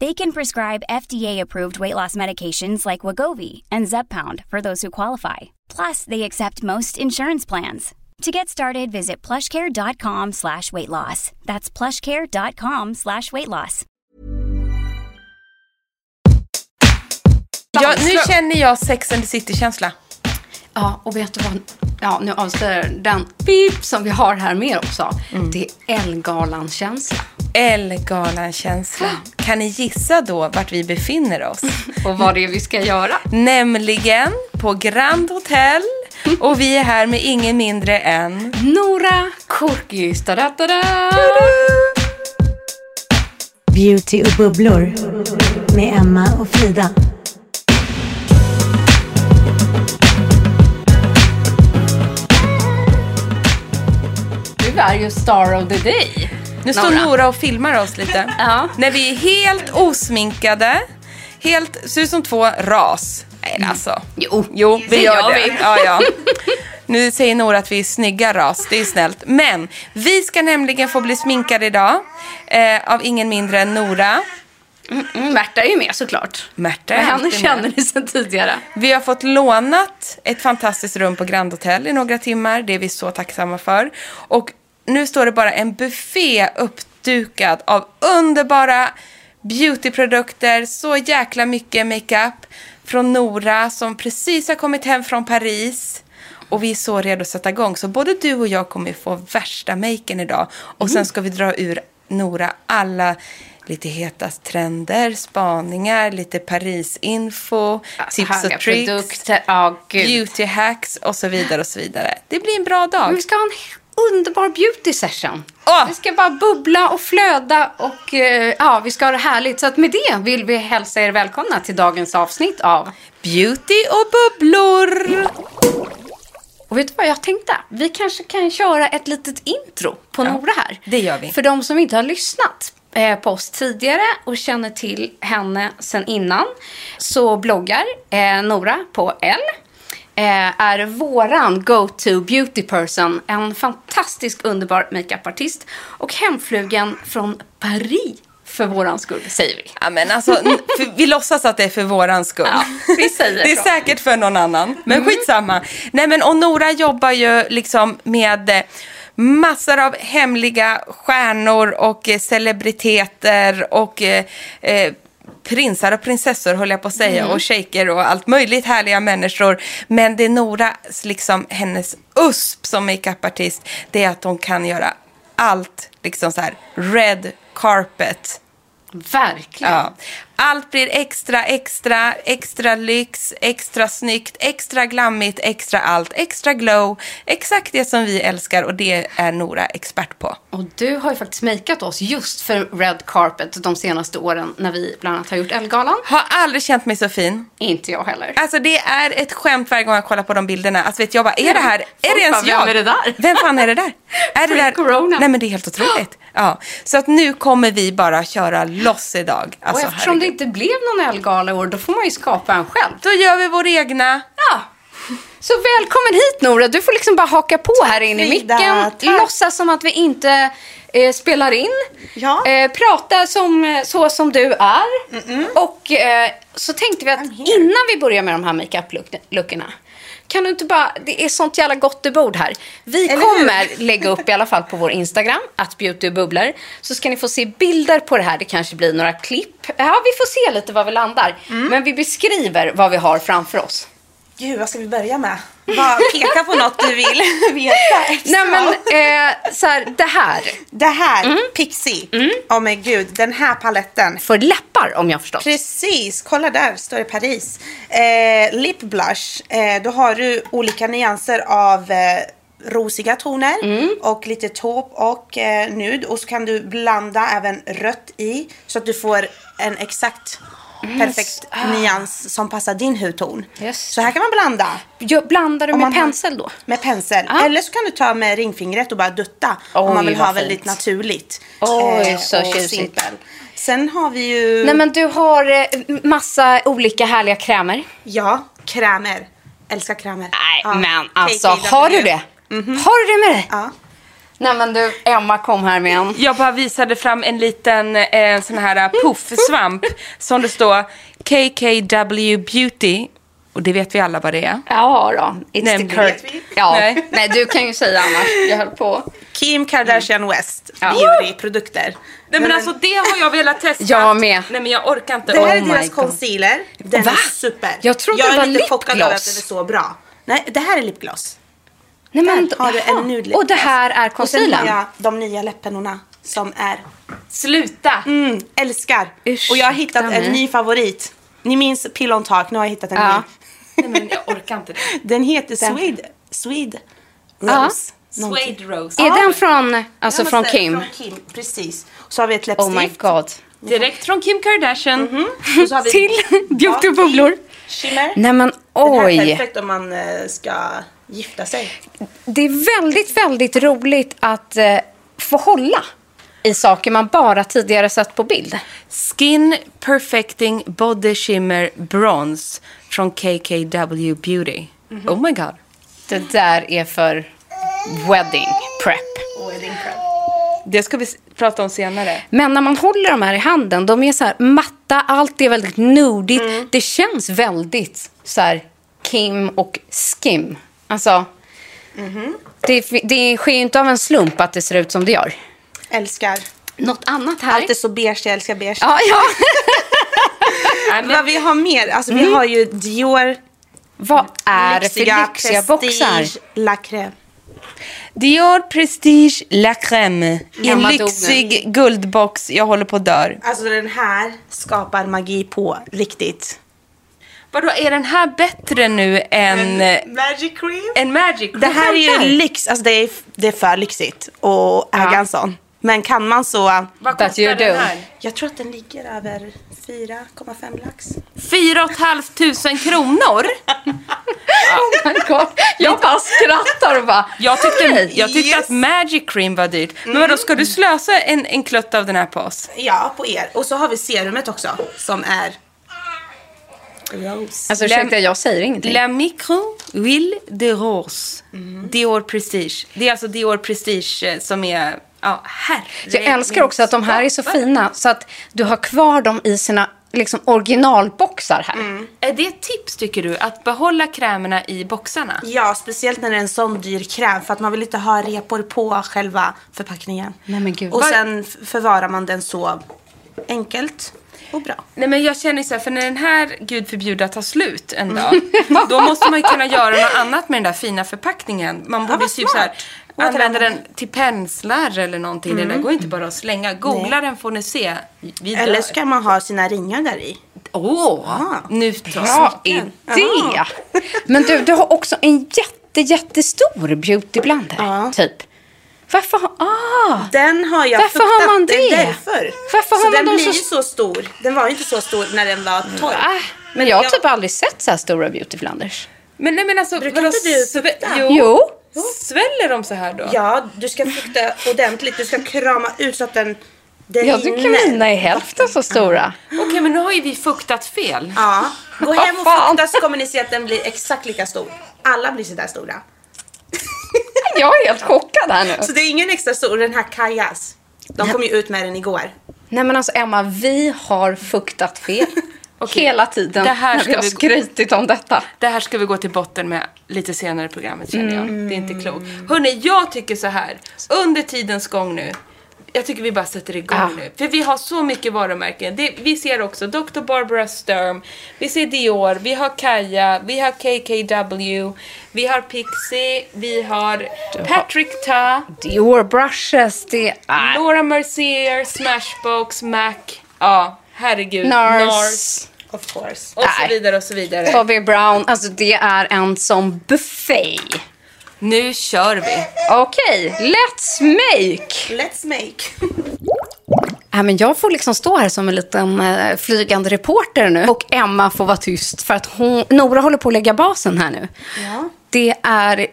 They can prescribe FDA-approved weight loss medications like Wagovi and Zepbound for those who qualify. Plus, they accept most insurance plans. To get started, visit plushcare.com slash weight loss. That's plushcare.com slash weight loss. Jag, nu känner jag Sex and the City-känsla. Ja, och vet du vad? Ja, nu avslöjar jag den pip som vi har här med också. Det är Ellegalan-känsla. Ellegalan-känsla. Kan ni gissa då vart vi befinner oss? Och vad det är vi ska göra. Nämligen på Grand Hotel. Och vi är här med ingen mindre än... Nora Korkis. Da-da-da-da. Beauty och bubblor med Emma och Frida. Du är ju star of the day. Nu står Nora. Nora, och filmar oss lite. Ja. När vi är helt osminkade. Helt, ser ut som två ras. Nej, men alltså. Jo, Jo, det vi gör, gör det. vi. Ja, ja. Nu säger Nora att vi är snygga ras, det är snällt. Men vi ska nämligen få bli sminkade idag eh, av ingen mindre än Nora. Mm, Märta är ju med såklart. Märta Men är henne alltid med. känner ni sedan tidigare. Vi har fått lånat ett fantastiskt rum på Grand Hotel i några timmar. Det är vi så tacksamma för. Och nu står det bara en buffé uppdukad av underbara beautyprodukter, så jäkla mycket makeup från Nora som precis har kommit hem från Paris. Och vi är så redo att sätta igång. Så både du och jag kommer få värsta maken idag. Och sen ska vi dra ur Nora alla lite heta trender, spaningar, lite Paris-info, tips Härliga och tricks, produkter. Ja, gud. beauty hacks och så vidare och så vidare. Det blir en bra Men dag. vi ska ha en underbar beauty session. Åh! Vi ska bara bubbla och flöda och eh, ja, vi ska ha det härligt. Så att med det vill vi hälsa er välkomna till dagens avsnitt av Beauty och bubblor! Och vet du vad jag tänkte? Vi kanske kan köra ett litet intro på Nora här. det gör vi. För de som inte har lyssnat eh, på oss tidigare och känner till henne sen innan så bloggar eh, Nora på L. Eh, är våran go-to beauty person. En fantastisk underbar makeupartist och hemflugen från Paris för våran skull säger vi. Ja, men alltså, n- för, vi låtsas att det är för våran skull. Ja, vi säger Det är så. Mm. säkert för någon annan, men skitsamma. Nej, men, och Nora jobbar ju liksom med eh, massor av hemliga stjärnor och eh, celebriteter och eh, eh, prinsar och prinsessor höll jag på att säga Mm. och shejker och allt möjligt härliga människor. Men det är Noras, liksom hennes USP som makeupartist, det är att hon kan göra allt liksom så här red carpet. Verkligen. Ja. Allt blir extra, extra, extra lyx, extra snyggt, extra glammigt, extra allt, extra glow. Exakt det som vi älskar och det är Nora expert på. Och du har ju faktiskt makeat oss just för Red Carpet de senaste åren när vi bland annat har gjort Ellegalan. Har aldrig känt mig så fin. Inte jag heller. Alltså det är ett skämt varje gång jag kollar på de bilderna. Alltså vet jag bara, är det här, är det Folk ens bara, jag? vem är det där? Vem fan är det där? Är det där? Pre-corona. Nej men det är helt otroligt. Ja. Så att nu kommer vi bara köra loss idag. Alltså, och eftersom herregud. det inte blev någon Ellegala i år, då får man ju skapa en själv. Då gör vi vår egna. Ja, Så välkommen hit Nora. Du får liksom bara haka på här inne i Frida. micken. Tack. Låtsas som att vi inte eh, spelar in. Ja. Eh, prata som, eh, så som du är. Och eh, så tänkte vi att I'm here. innan vi börjar med de här makeup-luckorna. Kan du inte bara, det är sånt jävla gott i bord här. Vi Eller hur? kommer lägga upp i alla fall på vår Instagram, att beautybubblor. Så ska ni få se bilder på det här. Det kanske blir några klipp. Ja, vi får se lite var vi landar. Mm. Men vi beskriver vad vi har framför oss. Gud, vad ska vi börja med? Bara peka på något du vill veta extra. Nej Mm. men eh, så här, det här. Det här, Pixie. Åh men gud, den här paletten. För läppar om jag förstått. Precis, kolla där står det Paris. Eh, lip blush, eh, då har du olika nyanser av eh, rosiga toner Mm. och lite taupe och eh, nude. Och så kan du blanda även rött i så att du får en exakt perfekt nyans som passar din hudton. Ah. Just Så här kan man blanda. Jag blandar du Om med man har- pensel då? Med pensel. Ja. Eller så kan du ta med ringfingret och bara dutta. Oj, om man vill ha vad fint. väldigt naturligt. eh, Oj, så och tjusigt. simpel. Sen har vi ju Nej men du har eh, massa olika härliga krämer. ja, krämer. Älskar krämer. Nej Ja. men alltså, KKW. har du det? Har du det med dig? Mhm. Ja. Nej men du, Emma kom här med en. Jag bara visade fram en liten eh, sån här eh, puffsvamp som det står KKW Beauty. Och det vet vi alla vad det är. Ja då, it's Nämnde the curve. det vi. Ja. Nej. Nej. du kan ju säga annars. Jag höll på. Kim Kardashian West. Mm. Ja. Beautyprodukter. Nej men alltså det har jag velat testa. Jag med. Nej men jag orkar inte. Mm. Det här är Oh my deras God. concealer. Den Va? är super. Jag trodde det jag var är lite chockad över att lipgloss. den är så bra. Nej, det här är lipgloss. Nej, men, Där har du jaha. en nude lipgloss. Och det här är Och sen har concealern? jag de nya läppennorna som är Sluta. Mm, älskar. Ursäkta och jag har hittat mig. en ny favorit. Ni minns Pill on Talk, nu har jag hittat en Ja. Nej men jag orkar inte. det. ny. Den heter Swede, Swede Rose. Någonting. Suede Rose. Är den från, alltså Jag från måste- Kim? Från Kim, precis. Och så har vi ett Oh my läppstift. Mm. god. Direkt från Kim Kardashian. och så har vi Till beautybubblor. shimmer. Nej men Den här är oj. perfekt om man eh, ska gifta sig. Det är väldigt, väldigt roligt att eh, få hålla i saker man bara tidigare sett på bild. Skin Perfecting Body Shimmer Bronze från KKW Beauty. Oh my god. Det där är för wedding prep. Det ska vi s- prata om senare. Men när man håller de här i handen, de är så här matta, allt är väldigt nudigt. Det känns väldigt så här Kim och Skim. Alltså, Mm-hmm. det, det sker ju inte av en slump att det ser ut som det gör. Älskar. Något annat här? Allt är så beige, jag älskar beige. Ja, ja. Nej, men- Vad vi har mer? Alltså vi har ju Dior, Vad Mm. är det för lyxiga, lyxiga boxar? Prestige, La Crème. Dior Prestige La Crème i en Gammal dog nu. lyxig guldbox. Jag håller på att dör. Alltså den här skapar magi på riktigt. Vadå, är den här bättre nu än eh, Magic cream. en Magic? Det här är Skämtar. ju lyx, alltså det är, det är för lyxigt att äga en sån. Men kan man så... Vad That you kostar den do. här? Jag tror att den ligger över 4,5 lax. 4 500 kronor? Oh my God. Jag bara skrattar och bara... Jag tyckte, "Hej." Mm. jag tyckte att Magic Cream var dyrt. Men vadå, ska du slösa en, en klutt av den här på oss? Ja, på er. Och så har vi serumet också som är... Rose. Alltså ursäkta, jag säger ingenting. La Micro Will de Rose. Mm. Dior Prestige. Det är alltså Dior Prestige eh, som är... Ja, herre Jag älskar också att de här är så fina så att du har kvar dem i sina liksom, originalboxar här. Är det ett tips, tycker du? Att behålla krämerna i boxarna? Ja, speciellt när det är en sån dyr kräm för att man vill inte ha repor på själva förpackningen. Nej, men gud. Och Var- sen f- förvarar man den så enkelt och bra. Nej men jag känner ju så här, för när den här, gud förbjude, tar slut en dag, Mm. då måste man ju kunna göra något annat med den där fina förpackningen. Man borde vad typ så här, smart. använda den Återanvänd. till penslar eller någonting. Det där går inte bara att slänga. Googla den får ni se. Vi dör. Mm. Eller Ah. så kan man ha sina ringar där i. Åh, nu tar Bra jag. idé! Men du, du har också en jätte, jättestor beautyblander, Ja. typ. Varför har... Ah! Den har jag Varför fuktat. har man det? är därför. Varför har så man den dem blir så- ju så stor. Den var ju inte så stor när den var torr. Äh, men jag har typ aldrig sett så här stora beautyblanders. Men nej men alltså, Brukar inte du fukta? Jo. Jo. Sväller de så här då? Ja, du ska fukta ordentligt. Du ska krama ut så att den... den Jag tycker rinner. mina är hälften så stora. Okej men nu har ju vi fuktat fel. Ja, Gå hem och Vad fan? fukta så kommer ni se att den blir exakt lika stor. Alla blir sådär stora. Jag är helt chockad här nu. Så det är ingen extra stor, den här Kajas. De kom ju ut med den igår. Nej men alltså Emma, vi har fuktat fel. Hela tiden Det här när vi ska har vi- skrytit om detta. Det här ska vi gå till botten med lite senare i programmet känner jag. Det är inte Mm. klokt. Hörni, jag tycker så här. Under tidens gång nu. Jag tycker vi bara sätter igång Ah. nu. För vi har så mycket varumärken. Det, vi ser också Dr. Barbara Sturm. Vi ser Dior. Vi har Kaja. Vi har KKW. Vi har Pixie. Vi har Patrick Ta. Dior brushes, det är... Laura Mercier. Smashbox. Mac. Ja, herregud. Nars. Of course. Och så Nej. vidare och så vidare. Bobby Brown, alltså det är en som buffé. Nu kör vi. Okej, let's make! Let's make. Äh, men jag får liksom stå här som en liten eh, flygande reporter nu. Och Emma får vara tyst för att hon, Nora håller på att lägga basen här nu. Det är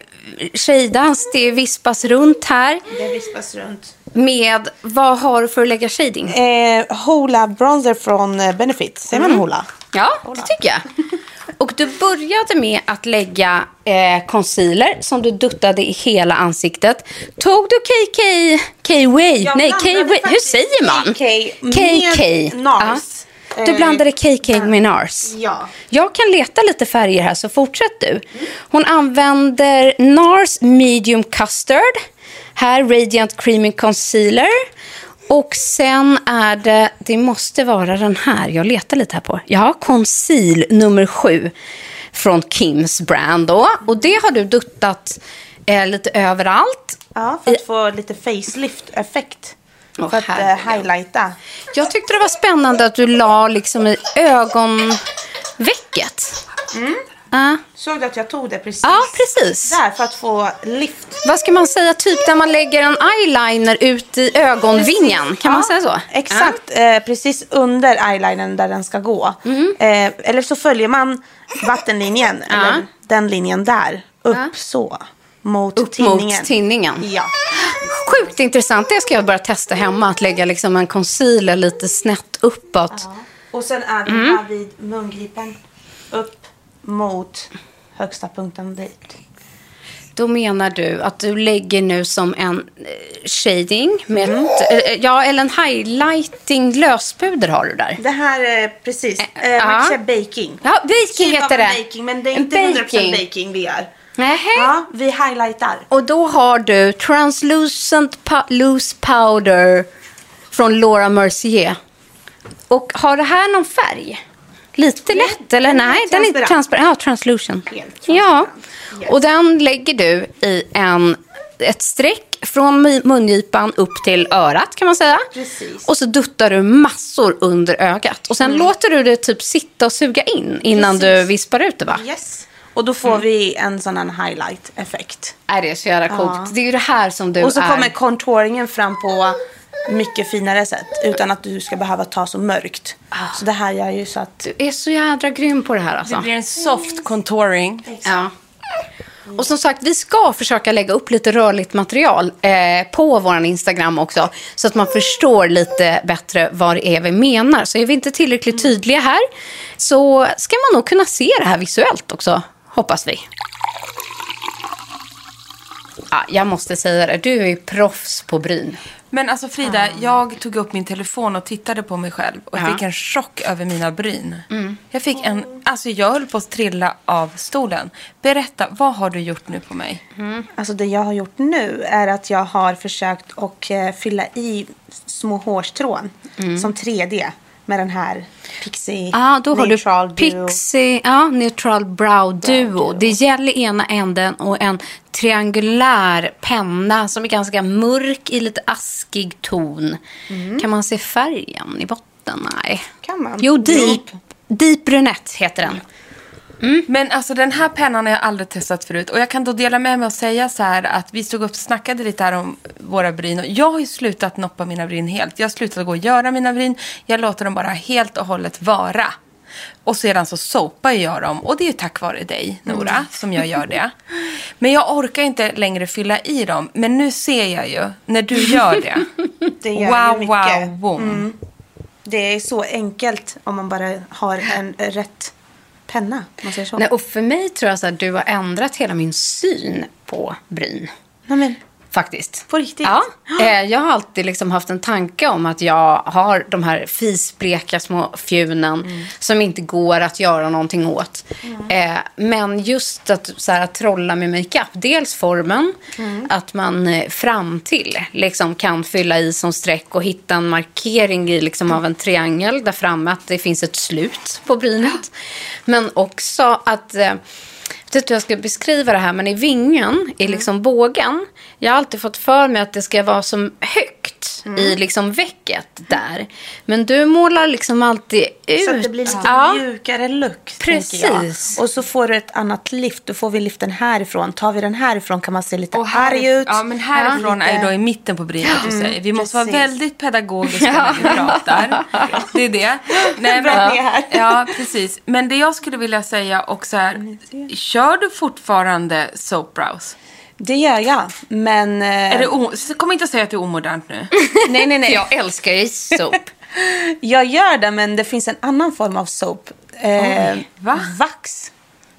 tjejdans, det vispas runt här Det vispas runt. med, vad har du för att lägga shading? Eh, Hola bronzer från eh, Benefit. Säger man Hola? Ja, det tycker jag. Och du började med att lägga eh, concealer som du duttade i hela ansiktet. Tog du KK... K-Way? Jag Nej, blandade K-Way. Hur faktiskt säger man? KK med Nars. Ja. Du Eh, blandade KK med Nars. Ja. Jag kan leta lite färger här, så fortsätt du. Hon använder NARS Medium Custard. Här Radiant Creamy Concealer. Och sen är det, det måste vara den här, jag letar lite här på. Ja, Conceal nummer 7 från Kims brand då. Och det har du duttat eh, lite överallt. Ja, för att få lite facelift-effekt. Åh, för att eh, herregud. highlighta. Jag tyckte det var spännande att du la liksom i ögonvecket. Mm. Såg du att jag tog det precis? Ja, precis. Där, för att få lift. Vad ska man säga, typ där man lägger en eyeliner ut i ögonvingen? Kan man säga så? Exakt, eh, precis under eyelinern där den ska gå. Mhm. Eh, eller så följer man vattenlinjen, eller den linjen där, upp så. Mot Upp mot tinningen. tinningen. Ja. Sjukt intressant. Det ska jag börja testa hemma. Att lägga liksom en concealer lite snett uppåt. Och sen är vi Mhm. här vid mungipan. Upp mot högsta punkten dit. Då menar du att du lägger nu som en eh, shading med Mm. ett, eh, ja, eller en highlighting löspuder har du där. Det här är precis, eh, ja. man kan säga baking. Ja, baking Typ av heter en det. Baking, men det är En inte 100% baking vi gör. Nähä. Ja, vi highlightar. Och då har du Translucent pa- Loose Powder från Laura Mercier. Och har det här någon färg? Lite lätt, eller? den är Nej, den är transparent. transparent. Ja, translucent. Helt Ja, transparent. Yes. och den lägger du i en, ett streck från mun- mungipan upp till örat, kan man säga. Precis. Mm. Och så duttar du massor under ögat. Och sen låter du det typ sitta och suga in innan du Precis. vispar ut det, va? Yes. Och då Mm. får vi en sån här highlight-effekt. Är det är så jävla coolt. Ja. Det är ju det här som du Och så är... kommer contouringen fram på mycket finare sätt utan att du ska behöva ta så mörkt. Ah. Så det här gör ju så att... Du är så jädra grym på det här Det alltså. blir en soft contouring. Ja. Och som sagt, vi ska försöka lägga upp lite rörligt material eh, på vår Instagram också. Så att man förstår lite bättre vad det är vi menar. Så är vi inte tillräckligt tydliga här så ska man nog kunna se det här visuellt också, hoppas vi. Ja, Ah, jag måste säga det, du är ju proffs på bryn. Men alltså Frida, jag tog upp min telefon och tittade på mig själv och fick en chock över mina bryn. Jag fick en, alltså jag höll på att trilla av stolen. Berätta, vad har du gjort nu på mig? Alltså det jag har gjort nu är att jag har försökt att eh, fylla i små hårstrån som 3D med den här Pixie Ja, Mm. Ah, då har Neutral du Duo. Pixie, ja, Neutral Brow Duo. Det gäller ena änden och en triangulär penna som är ganska mörk i lite askig ton. Kan man se färgen i botten? Nej. Mm. Kan man? Jo, Deep, deep Brunette heter den. Men alltså den här pennan har jag aldrig testat förut. Och jag kan då dela med mig och säga så här att vi stod upp och snackade lite här om våra bryn. Och jag har ju slutat noppa mina bryn helt. Jag har slutat gå och göra mina bryn. Jag låter dem bara helt och hållet vara. Och sedan så sopar jag dem. Och det är ju tack vare dig, Nora, Mm. som jag gör det. Men jag orkar inte längre fylla i dem. Men nu ser jag ju när du gör det. Det gör ju wow, mycket. Mm. wow, boom. Det är så enkelt om man bara har en rätt penna. Om man säger så. Nej, och för mig tror jag så att du har ändrat hela min syn på bryn. Nej, men, Faktiskt. På riktigt? Ja. Eh, jag har alltid liksom haft en tanke om att jag har de här fisbleka små fjunen som inte går att göra någonting åt. Eh, men just att, så här, att trolla med makeup. Dels formen, att man eh, fram till liksom, kan fylla i som streck och hitta en markering i, liksom, av en triangel där framme att det finns ett slut på brynet. Men också att eh, jag vet inte hur jag ska beskriva det här, men i vingen, Mm. i liksom bågen. Jag har alltid fått för mig att det ska vara som högt Mm. i liksom väcket där. Men du målar liksom alltid ut. så att det blir lite ja. mjukare look. Precis. tänker jag. Och så får du ett annat lift. Då får vi liften härifrån. Tar vi den härifrån kan man se lite arg ut. Ja, men härifrån är ju då i mitten på brynet du säger. Vi måste vara precis. väldigt pedagogiska när vi pratar. Det är det. Nej, Bra att ni är här. Ja, precis. Men det jag skulle vilja säga också är, kör du fortfarande soap brows? Det gör jag. Men... eh, Är det o- Kom inte och säg att det är omodernt nu. Typ, Nej, nej, nej. Jag älskar ju sop. Jag gör det, men det finns en annan form av soap. Eh, va? Vax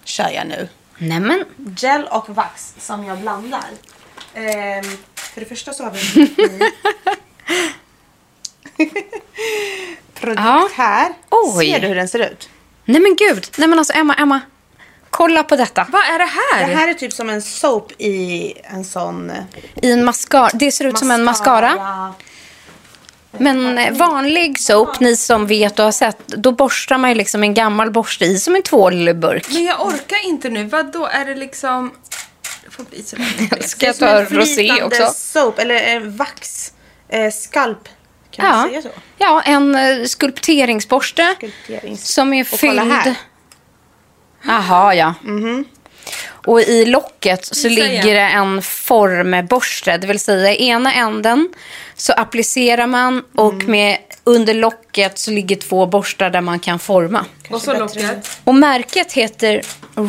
kör jag nu. Nej men, Gel och vax som jag blandar. Eh, för det första så har vi en ny produkt Ja. här. Oj. Ser du hur den ser ut? nej men gud. Nej men alltså Emma, Emma. Kolla på detta. Vad är det här? Det här är typ som en soap i en sån... eh, I en mascara. Det ser ut som en mascara. Men eh, vanlig soap, ni som vet och har sett, då borstar man ju liksom en gammal borste i som en tvålburk. Men jag orkar inte nu. Vad då är det liksom... Det får bli så där. Ska jag Som ta en rosé flytande också? soap, eller eh, vax. Eh, skalp. Kan man säga så? ja, en eh, skulpteringsborste Skulpterings- som är Och kolla här. Mhm. fylld... Jaha, ja. Och i locket så ligger det en formborste, det vill säga i ena änden så applicerar man och Mm. med, under locket så ligger två borstar där man kan forma. Och så locket. Och märket heter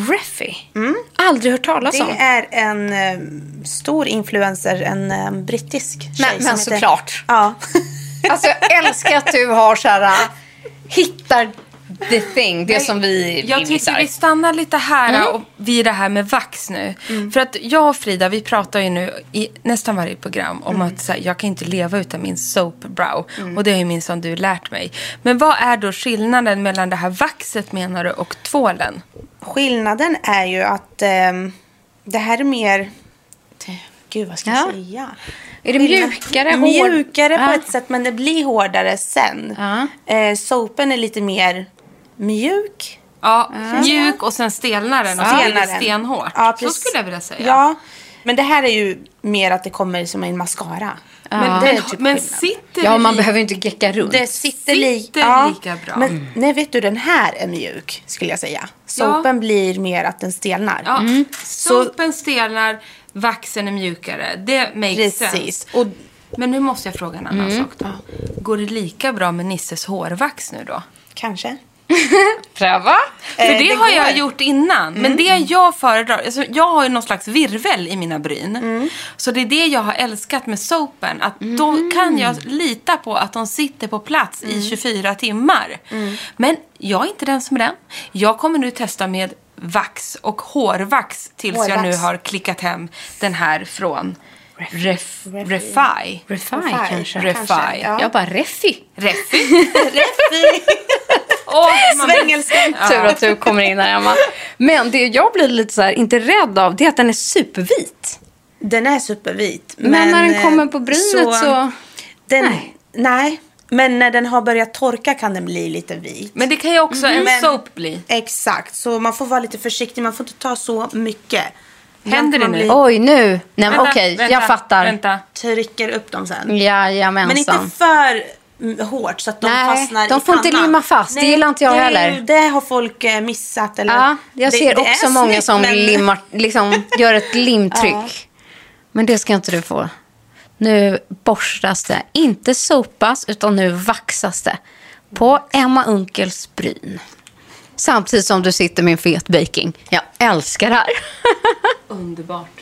Refi. Aldrig hört talas om. Mm. Det är en eh, stor influencer, en eh, brittisk tjej Nej, men som såklart. Ja. Alltså jag älskar att du har så här, äh, hittar the thing, det som vi Jag tycker missar. vi stannar lite här Mm. och vid det här med vax nu. För att jag och Frida, vi pratar ju nu i nästan varje program Mm. om att så här, jag kan inte leva utan min soap brow. Och det har ju minsann du lärt mig. Men vad är då skillnaden mellan det här vaxet menar du och tvålen? Skillnaden är ju att ehm, det här är mer... det- Gud, vad ska Ja. jag säga? Är det Skillnad- mjukare, hård- Mjukare på Ja. ett sätt, men det blir hårdare sen. Ja. Eh, sopen är lite mer mjuk. Ja, Mm. mjuk och sen stelnar den och så blir det senare. stenhårt. Ja, så precis. skulle jag vilja säga. Ja, men det här är ju mer att det kommer som en mascara. Men, det är den, typ men skillnaden. sitter Ja, det man i- behöver ju inte gecka runt. Det sitter, li- Sitter lika bra. Mm. Men, nej, vet du, den här är mjuk skulle jag säga. Sopen blir mer att den stelnar. Ja, Sopen stelnar, vaxen är mjukare. Det makes Precis. sense. Och- Mm. Men nu måste jag fråga en annan sak då. Går det lika bra med Nisses hårvax nu då? Kanske. Pröva. För det, det har jag går. gjort innan. Men det jag föredrar, alltså jag har ju någon slags virvel i mina bryn. Så det är det jag har älskat med sopen. Att då kan jag lita på att de sitter på plats i 24 timmar. Men jag är inte den som är den. Jag kommer nu testa med vax och hårvax tills jag Hårvax. nu har klickat hem den här från Ref, Refi. Refi, Refi, kanske. Refi. ja. Jag bara refi. Refi. Åh, man- Svengelska. Tur att du kommer in här Emma. Men det jag blir lite så här, inte rädd av, det är att den är supervit. Den är supervit. eh, Men när den kommer på brynet så- Den, Nej. nej. Men när den har börjat torka kan den bli lite vit. Men det kan ju också en soap bli. Exakt, så man får vara lite försiktig. Man får inte ta så mycket. Händer det Man nu? blir- Oj, nu. Nej, men Vänta, okej, vänta, jag fattar. Vänta. Trycker upp dem sen. Men Jajamensan. inte för mm, hårt så att de Nej, fastnar de i får inte pannan. limma fast. Det gillar inte jag det är heller. ju- Det har folk eh, missat. Eller? Ja, jag Det- ser det är också många snyggt, som men- limmar, liksom, gör ett limtryck. Men det ska inte du få. Nu borstas det. Inte sopas, utan nu vaxas det. På Emma Unkels bryn. Samtidigt som du sitter med en fet baking. Jag älskar det här. Underbart.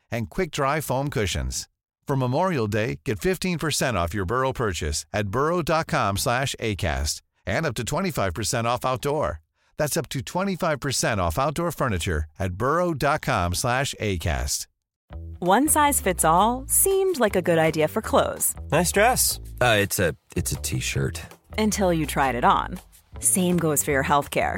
and quick-dry foam cushions. For Memorial Day, get 15% off your Burrow purchase at burrow.com/acast and up to 25% off outdoor. That's up to 25% off outdoor furniture at burrow.com/acast. One size fits all seemed like a good idea for clothes Nice dress. Uh, it's a it's a t-shirt. until you tried it on. Same goes for your healthcare.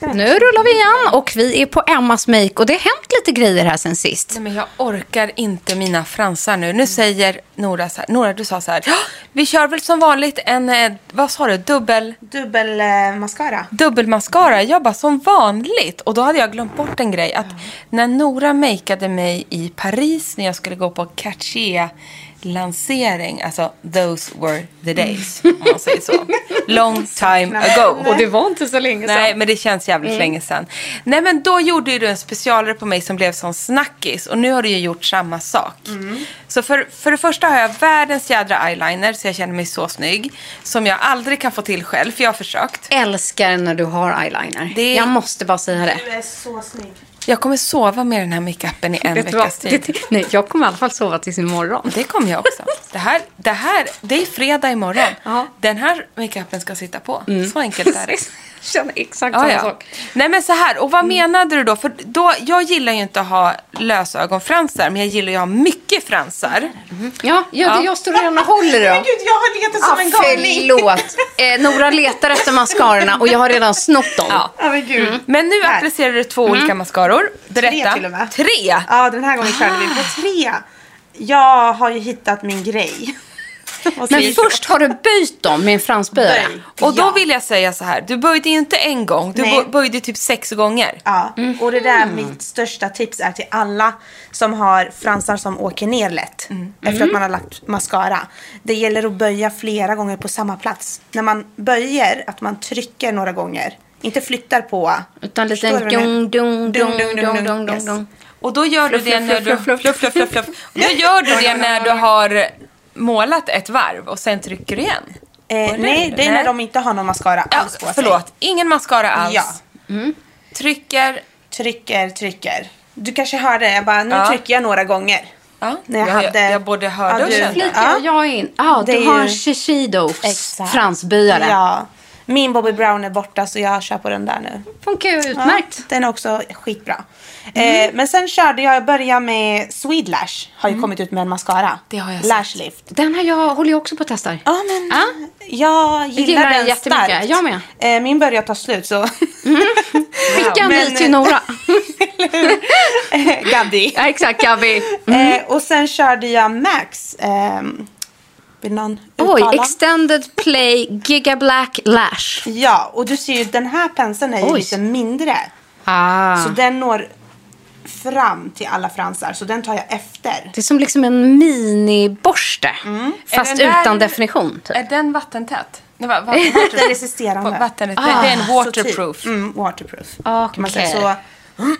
Nu rullar vi igen och vi är på Emmas make och det har hänt lite grejer här sen sist. Nej, men jag orkar inte mina fransar nu. Nu säger Nora så här. Nora, du sa så här. "Ja, Vi kör väl som vanligt en, eh, vad sa du, dubbel... Dubbel eh, mascara. dubbelmascara. Jag bara som vanligt. Och då hade jag glömt bort en grej. Att när Nora makeade mig i Paris när jag skulle gå på Cartier lansering. Alltså those were the days. Om man säger så. Long time ago. Och det var inte så länge sedan. Mm. Nej, men det känns jävligt länge sedan. Nej, men då gjorde ju du en specialare på mig som blev som snackis. Och nu har du ju gjort samma sak. Mm. Så för, för det första har jag världens jädra eyeliner så jag känner mig så snygg. Som jag aldrig kan få till själv, för jag har försökt. Älskar när du har eyeliner. Det- Jag måste bara säga det. Du är så snygg. Jag kommer sova med den här makeupen i en Vet du vad? veckas tid. Det- Nej, jag kommer i alla fall sova tills imorgon. Det kommer jag också. Det här, det här, det är fredag imorgon. Ja. Den här makeupen ska sitta på. Så enkelt är det. Jag känner exakt Ja, samma ja. sak. Mm. Nej men så här, och vad menade du då? För då, jag gillar ju inte att ha lösögonfransar, men jag gillar ju att ha mycket fransar. Ja, ja, det jag står redan och håller Men då. gud, jag har legat som Ah, en galning. förlåt. Eh, Nora letar efter mascarorna och jag har redan snott dem. Ja. Ja, men Mm. gud. Men nu Här. applicerar du två olika mascaror. Berätta. till och med. Tre! Ja, den här gången körde vi på tre. Jag har ju hittat min grej. Och Men så- först har du böjt dem med en fransböjare. Böj. Och då Ja. vill jag säga så här, du böjde ju inte en gång, du Nej. bo- böjde typ sex gånger. Ja, och det där mitt största tips är till alla som har fransar som åker ner lätt efter att man har lagt mascara. Det gäller att böja flera gånger på samma plats. När man böjer, att man trycker några gånger. Inte flyttar på. Utan lite Förstår du vad jag menar? dung, dung, dung, dung, dung, dung, Yes. dung. Och då gör du Fluff, det fluff, när du... fluff, fluff, Fluff, fluff, fluff, fluff. Och Då gör du det när du har målat ett varv och sen trycker du igen. Eh, nej, det är när de inte har någon mascara Ja, alls på sig. förlåt, ingen mascara alls. Ja. Trycker... Trycker, trycker. Du kanske hörde, jag bara, nu Ja. trycker jag några gånger. Ja, När jag, jag- hade... jag både hörde och du- kände. Flika jag in. Ja, Det du är har ju- en Shiseido Exakt. fransböjare. Ja. Min Bobby Brown är borta så jag kör på den där nu. Funkar ju utmärkt. Ja, den är också skitbra. Eh, men sen körde jag, jag började med Swede Lash. Har ju kommit ut med en mascara. Det har jag sett. Lash Lift. Den här jag, håller jag också på att testa. Ja men Ja. jag gillar, gillar den den jättemycket. starkt. Jag med. Eh, min börjar ta slut så Skicka en Men- ny till Nora. Gaddi. ja, exakt, Gabi. Eh, och sen körde jag Max. ehm, vill någon Oj, uttala? Extended Play Giga Black Lash. ja, och du ser ju den här penseln är ju Oj. lite mindre. Ah. Så den når fram till alla fransar så den tar jag efter. Det är som liksom en miniborste. Mm. Fast Är den där- utan definition. Typ. Är den vattentät? Nej, va, va, vatten- Den resisterande. Ah, vatten- det- det är en waterproof. Ah, Så typ, mm, waterproof. Kan man Okej. säga. Så,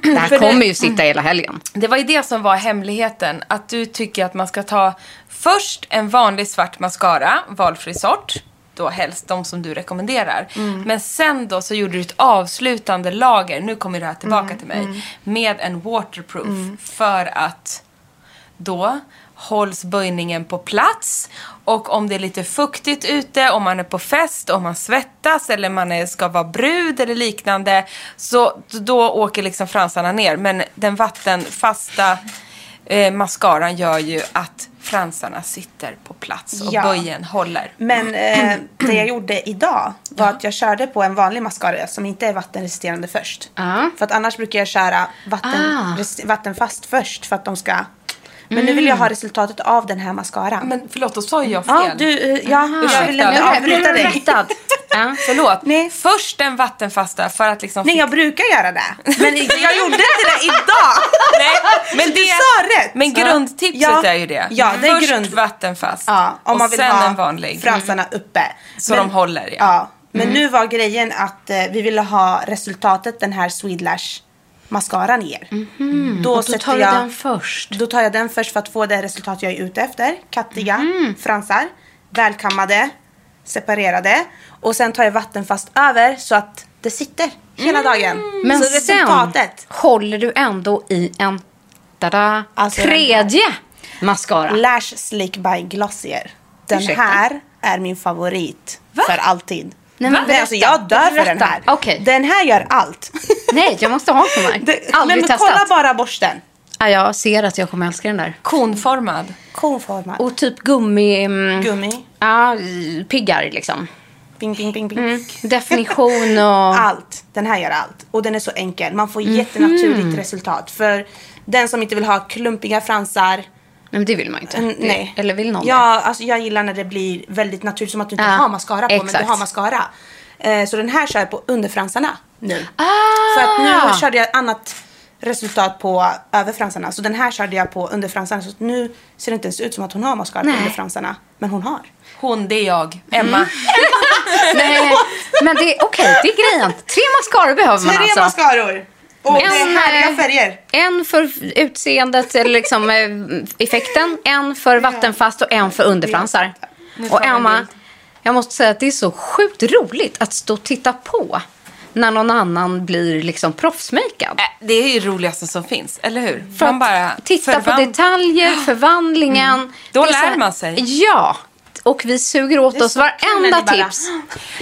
Det här För kommer det- ju sitta hela helgen. Det var ju det som var hemligheten. Att du tycker att man ska ta först en vanlig svart mascara, valfri sort. Då helst de som du rekommenderar. Men sen då så gjorde du ett avslutande lager, nu kommer det här tillbaka till mig, med en waterproof. För att då hålls böjningen på plats. Och om det är lite fuktigt ute, om man är på fest, om man svettas eller man är, ska vara brud eller liknande, så då åker liksom fransarna ner. Men den vattenfasta eh, mascaran gör ju att fransarna sitter på plats och Ja. böjen håller. Men eh, det jag gjorde idag var att jag körde på en vanlig mascara som inte är vattenresisterande först. Ah. För att annars brukar jag köra vatten, Ah. res- vattenfast först för att de ska... Men nu vill jag ha resultatet av den här mascaran. Mm. Men förlåt, då sa jag fel. Ja, du, eh, ja, jag ville inte Ursäkta. avbryta dig. Förlåt. Först den vattenfasta för att liksom... Nej, jag brukar göra det. Men jag gjorde inte det idag. Nej, men Du det- sa rätt. Men Ja. grundtipset Ja. är ju det. Ja, det är Först grund- vattenfast Ja, om och man vill sen ha en vanlig. Mm. fransarna uppe. Så de håller, ja. Mm. ja. Men nu var grejen att eh, vi ville ha resultatet, den här Swedelash mascaran ger. Mm-hmm. Och då sätter tar du den först. Då tar jag den först för att få det resultat jag är ute efter. Kattiga Mm-hmm. fransar, välkammade, separerade. Och sen tar jag vattenfast över så att det sitter hela dagen. Mm. Men så sen resultatet. håller du ändå i en tada, Alltså, tredje mascara. Lash Slick by Glossier. Den Ah. Ursäkta? här är min favorit för alltid. Nej, men berätta. alltså, jag dör för den här. Berätta. Okej. Den här gör allt. Nej, jag måste ha en sån här. Det- Aldrig men, testat. men kolla bara borsten. Ja, jag ser att jag kommer älska den där. Konformad. Konformad. Och typ gummi... mm, Gummi. Ja, i- piggar liksom. Bing, bing, bing, bing. Mm. Definition och... Allt. Den här gör allt. Och den är så enkel. Man Mhm. får jättenaturligt resultat. För den som inte vill ha klumpiga fransar. Nej, men det vill man inte. mm, Det- Nej. Eller vill någon ja, alltså, Jag gillar när det blir väldigt naturligt. Som att du inte Ja, har mascara på men exakt. du har mascara. Eh, så den här kör jag på underfransarna nu. det? Ah! För att nu körde jag annat resultat på överfransarna. Så den här körde jag på underfransarna. Så att nu ser det inte ens ut som att hon har mascara på Nej. underfransarna. Men hon har. Hon, det är jag. Mm. Emma. Äh, Nej, men det är okej, det är grejen. Tre mascaror behöver man Tre alltså. mascaror! Och det En, är härliga eh, färger. En för utseendet eller liksom eh, effekten, en för vattenfast och en för underfransar. Och Emma, jag måste säga att det är så sjukt roligt att stå och titta på när någon annan blir liksom proffsmakead. Äh, Det är ju det roligaste som finns, eller hur? För man att bara titta på förvand- detaljer, förvandlingen. Då Det är så lär här- man sig. Ja, och vi suger åt Det är oss så kul när varenda ni bara- tips.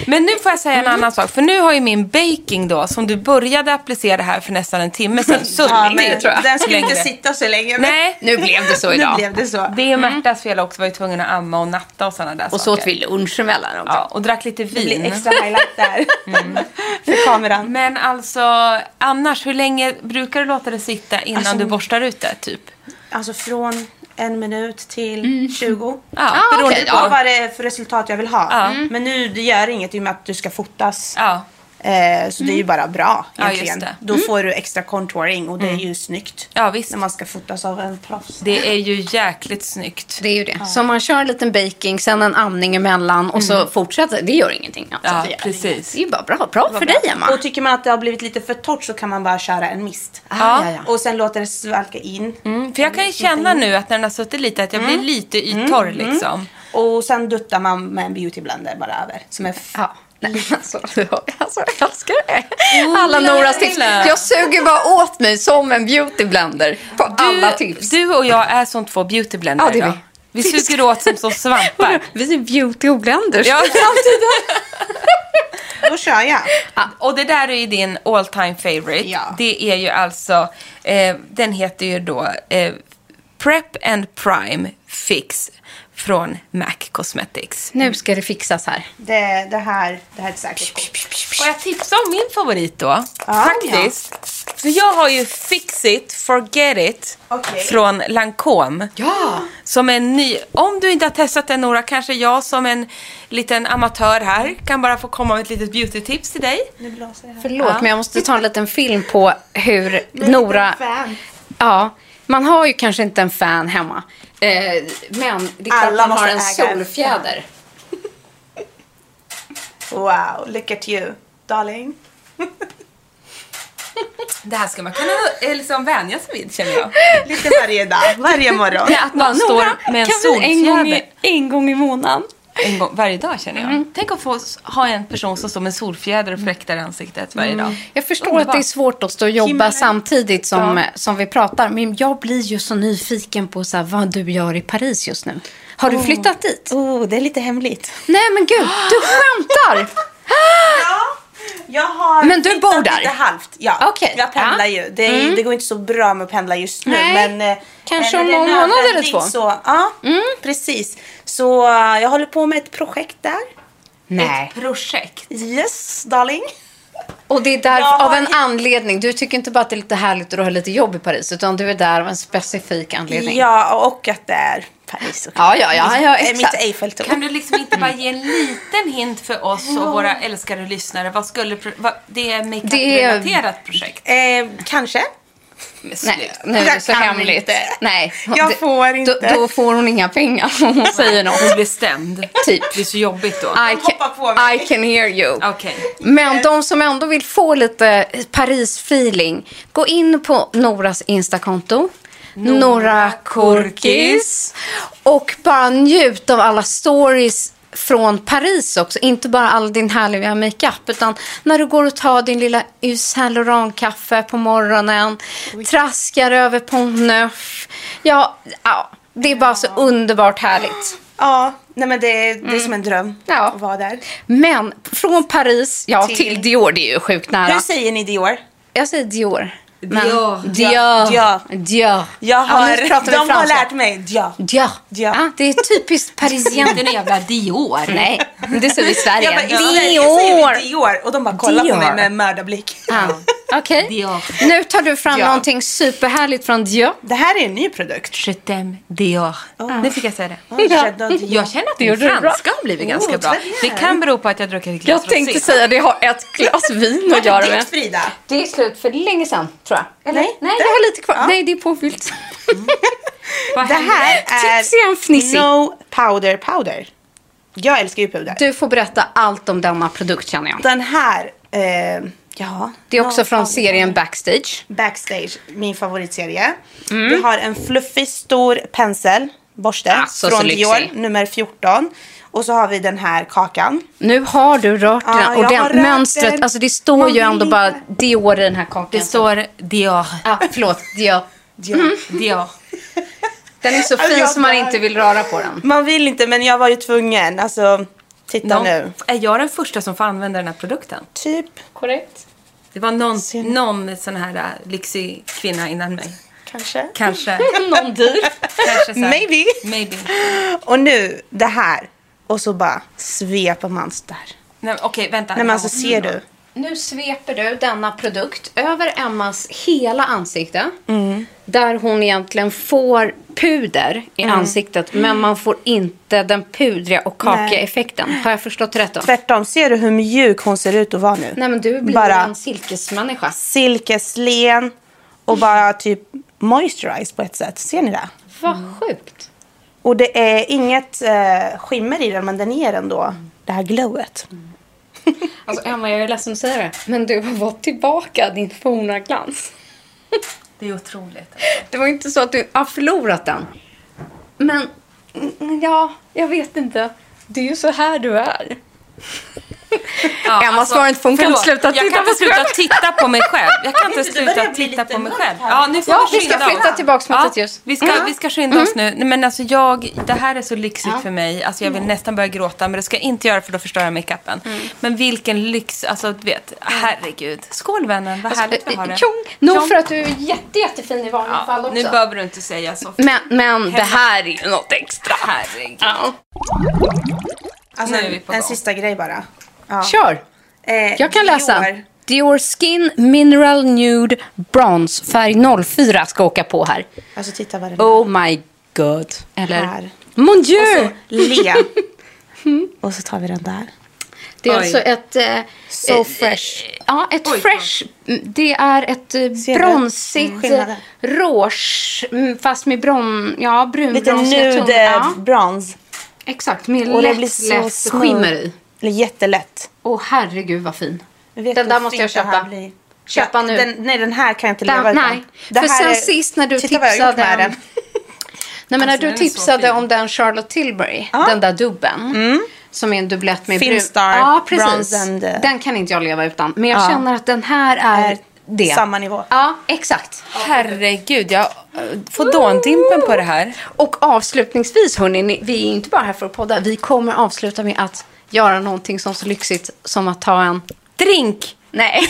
Men nu får jag säga Mm. en annan sak. För nu har ju min baking då, som du började applicera här för nästan en timme sedan, suttit men tror jag. Den skulle inte längre. sitta så länge. men- Nej. Nu blev det så Nu idag. blev det så. Mm. Det är Märtas fel också, var ju tvungen att amma och natta och sådana där Och så saker. åt vi lunch emellan också. Ja, och drack lite Det vin. blir extra highlight där. Mm. För kameran. Men alltså, annars, hur länge brukar du låta det sitta innan Alltså, du borstar ut det, typ? Alltså från en minut till 20. Mm. Ja, Ah, beroende okej, på. På vad det är för resultat jag vill ha. Ja. Men nu, det gör inget i och med att du ska fotas. Ja. Mm. Eh, så det är ju bara bra Ja, egentligen. just det. Mm. Då får du extra contouring och det är ju snyggt. Ja, visst. När man ska fotas av en proffs. Det är ju jäkligt snyggt. Det är ju det. Så man kör en liten baking, sen en amning emellan och så fortsätter det. gör ingenting. Alltså, Ja, det gör precis. ingenting. Det är ju bara bra. Bra för dig, Emma. Och tycker man att det har blivit lite för torrt så kan man bara köra en mist. ja, ja. Och sen låter det svalka in. Ah, Mm, för jag kan ju känna nu att när den har suttit lite, att jag blir Mm. lite yttorr liksom. Och sen duttar man med en beauty blender bara över. Som är f- Ja. Nej, alltså, du har- alltså, jag älskar det. Alla Noras tips. Laila. Jag suger bara åt mig som en beautyblender på alla tips. du och jag är som två beautyblender Ja, det är vi. idag. Vi suger åt som, som svampar. Vi är beauty och blenders. Ja. Då kör jag. Och det där är ju din all time favorite. Ja. Det är ju alltså, eh, den heter ju då eh, Prep and Prime Fix från MAC Cosmetics. Nu ska det fixas här. Det, det, här, det här är ett säkert kort. Får jag tipsa om min favorit då? Ja, Faktiskt. För jag har ju Fix It, Forget It Okej. från Lancome. Ja. Som en ny, om du inte har testat den Nora, kanske jag som en liten amatör här kan bara få komma med ett litet beautytips till dig. Nu blåser det här. Förlåt, men jag måste ta en liten film på hur Nora... fan. Ja, man har ju kanske inte en fan hemma. Eh, men det är klart Alla man har måste en äga en solfjäder. Wow, look at you, darling. Det här ska man kunna eh, liksom vänja sig vid känner jag. Lite varje dag, varje morgon. Att man står med en kan vi en gång, i, solfjäder. en gång i månaden en gång, varje dag känner jag. Tänk att få s- ha en person som står med solfjäder och fläktar i ansiktet varje dag. Jag förstår att det är svårt att stå och jobba samtidigt som, Ja. som vi pratar. Men jag blir ju så nyfiken på så här, vad du gör i Paris just nu. Har du Oh. flyttat dit? Oh, det är lite hemligt. Nej men gud, du skämtar! Jag har Men du flyttat bor där? Lite halvt. Ja, Okej. jag pendlar Ja. ju. Det, är- Mm. det går inte så bra med att pendla just nu. Nej. Men, eh, Kanske när om det är någon månad eller nödvändigt två. Mm. Så, ja, precis. Så eh, jag håller på med ett projekt där. Nej. Ett projekt? Yes, darling. Och det är där Jag har av en ju- anledning. Du tycker inte bara att det är lite härligt att du har lite jobb i Paris. Utan du är där av en specifik anledning. Ja, och att det är Paris Ja, ja, ja, ja, Det är exakt. Mitt Eiffeltorn. Kan du liksom inte bara ge en liten hint för oss och våra älskade lyssnare? Vad skulle, pro- vad, det är Det är- makeup-relaterat projekt. Eh, kanske. Men Nej, sluta. nu är det Jag så kan hemligt. inte. Nej, Jag det- får inte. Då, då får hon inga pengar om hon säger något. Hon blir stämd. Typ. Det är så jobbigt då. I Hoppa på can, I can hear you. Okej. Men de som ändå vill få lite Paris-feeling, gå in på Noras Instakonto. Nora Korkis. Och bara njut av alla stories från Paris också. Inte bara all din härliga makeup, utan när du går och tar din lilla Yves Saint Laurent-kaffe på morgonen, traskar över Pont Neuf. Ja, ja, det är bara så underbart härligt. Ja, nej men det, det är som en dröm Ja. att vara där. Men från Paris, ja, till, Till- Dior, det är ju sjukt nära. Hur säger ni Dior? Jag säger Dior. Dior. Dior. Dior. Dior. Jag har, ja, nu pratar vi de har franska. lärt mig Dior. Dior. Dior. Ja, det är typiskt Inte parisien. en jävla Dior. Nej, det säger vi i Sverige. Jag bara, i Sverige säger Dior. vi Dior. Och de bara kollar Dior. på mig med mördarblick. Ja, Okej, Dior. nu tar du fram Dior. någonting superhärligt från Dior. Det här är en ny produkt. Je t'aime Dior. Nu fick jag säga det. Oh, Shadow Dior. Jag känner att Det min gjorde du bra. franska har blivit ganska Oh, bra. tvärtom. Det kan bero på att jag druckit ett glas Jag tänkte rosé. säga det har ett glas vin att Vad göra är med. ditt Frida? Det är slut för länge sedan, tror jag. Eller? Nej, Nej, det- jag har lite kvar. ja. Nej, det är påfyllt. Mm. Vad Det här Tipsig och fnissig. är No Powder Powder. Jag älskar ju puder. Du får berätta allt om denna produkt, känner jag. Den här, eh, ja. Det är No också från Powder serien Backstage. Backstage, min favoritserie. Det har en fluffig stor pensel, borste, Alltså, så från lyxig. Dior, nummer 14. Och så har vi den här kakan. Nu har du rört Ja, den och jag har det rört mönstret, den. alltså det står Man ju vill ändå inte. bara Dior i den här kakan. Det står Dior. Ja, förlåt, Dior. Dior. Den är så Alltså, fin jag som man dör. inte vill röra på den. Man vill inte, men jag var ju tvungen. Alltså, titta Någon, nu. är jag den första som får använda den här produkten? Typ, Korrekt. Det var någon, Ser ni? någon sån här äh, lyxig kvinna innan mig. kanske. Kanske. Någon dyr. kanske så här. Maybe. Maybe. Och nu det här. Och så bara sveper man så där. Nej, men Okej, vänta. Mm. Nej men Jag alltså måste ser då. du? Nu sveper du denna produkt över Emmas hela ansikte. Mm. Där hon egentligen får puder i ansiktet, men man får inte den pudriga och kakiga Mm. Nej. effekten. Har jag förstått rätt då? Tvärtom, ser du hur mjuk hon ser ut att vara nu? Nej, men du blir Bara- en silkesmänniska. Silkeslen och bara typ moisturize på ett sätt. Ser ni det? Vad sjukt. Och det är inget eh, skimmer i den men den ger ändå det här glowet. Alltså Emma, jag är ledsen att säga det, men du har fått tillbaka din forna glans. Det är otroligt. Det var inte så att du har förlorat den. Men, mm, ja, jag vet inte. Det är ju så här du är. Ja, alltså, Emma svarar inte för hon kan förlåt. inte sluta jag titta kan på inte sig sluta själv. titta på mig själv. Jag kan inte du börjar sluta bli titta lite på mig mörk själv. här? Ja, nu får Ja, vi skynda ska flytta oss. tillbaks mot ett ljus. Mm. Vi ska, vi ska skynda oss nu. Nej, Men alltså jag, det här är så lyxigt för mig. Alltså jag vill Mm. nästan börja gråta, men det ska jag inte göra för då förstör jag makeupen. Mm. Men vilken lyx, alltså du vet, herregud. Skål vännen, Alltså, vad härligt vi har det. Tjong! Nog Tjong. för att du är jätte, jättefin i vanliga fall Ja, också. nu behöver du inte säga så. Men, men det här är ju något extra. Herregud. Ja. Alltså, Nu är vi på en gång. sista grej bara. Ja. Kör! Eh, Jag kan läsa. Dior. Dior Skin Mineral Nude Bronze färg 04 ska åka på här. Alltså titta vad den är. Oh my god. Eller? Här. Mon dieu! Så, le. Och så tar vi den där. Det är Oj. alltså ett... eh, So eh, fresh. eh, Ja, ett Oj, fresh. mm, Det är ett eh, Ser du? Mm, bronsigt mm. skillnaden. rouge, mm, fast med bron, ja, Lite brunbronsig ton. nude Ja, brons. exakt, med Och lätt, det blir så lätt smooth. skimmer i. Det är Jättelätt. Åh herregud vad fin. Vet den du där hur måste jag fint det här köpa. blir? Köpa nu. Den, nej, den här kan jag inte Den- leva utan. nej. För sen sist när du titta vad jag har gjort tipsade med om- den. Nej, men när Alltså, du den är så tipsade fin. om den Charlotte Tilbury, den där dubben. Som är en dubblett med Mm. Finstar, Ja, precis. Bronze and, eh, Den kan inte jag leva utan. Men jag Ja. känner att den här är, Är det. samma nivå. Ja, exakt. Herregud, jag eh, får dåndimpen på det här. Och avslutningsvis, hörni, ni- vi är inte bara här för att podda. Vi kommer avsluta med att göra någonting som så lyxigt som att ta en... Drink! Nej.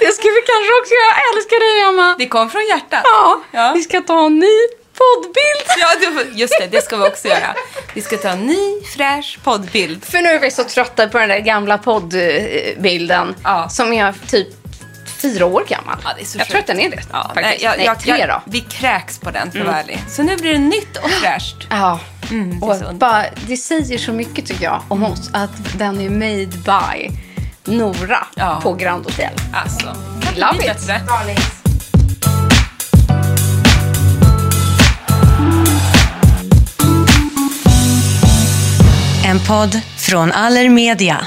det ska vi kanske också göra. Jag älskar dig, Emma. Det kom från hjärtat. Ja, Ja. vi ska ta en ny poddbild. Ja, det- just det. Det ska vi också göra. Vi ska ta en ny fräsch poddbild. För nu är vi så trötta på den där gamla poddbilden Ja. som är typ fyra år gammal. Ja, det är så jag sjukt. tror att den är det. Ja, faktiskt. Nej, jag- jag- tre jag- då. Mm. Vi kräks på den för att vara ärlig. Så nu blir det nytt och fräscht. Ja. Mm, det är och så underbart. bara, det säger så mycket tycker jag om oss att den är made by Nora Ja. på Grand Hotel. Alltså, kan det Love bli it. bättre? En podd från Allermedia.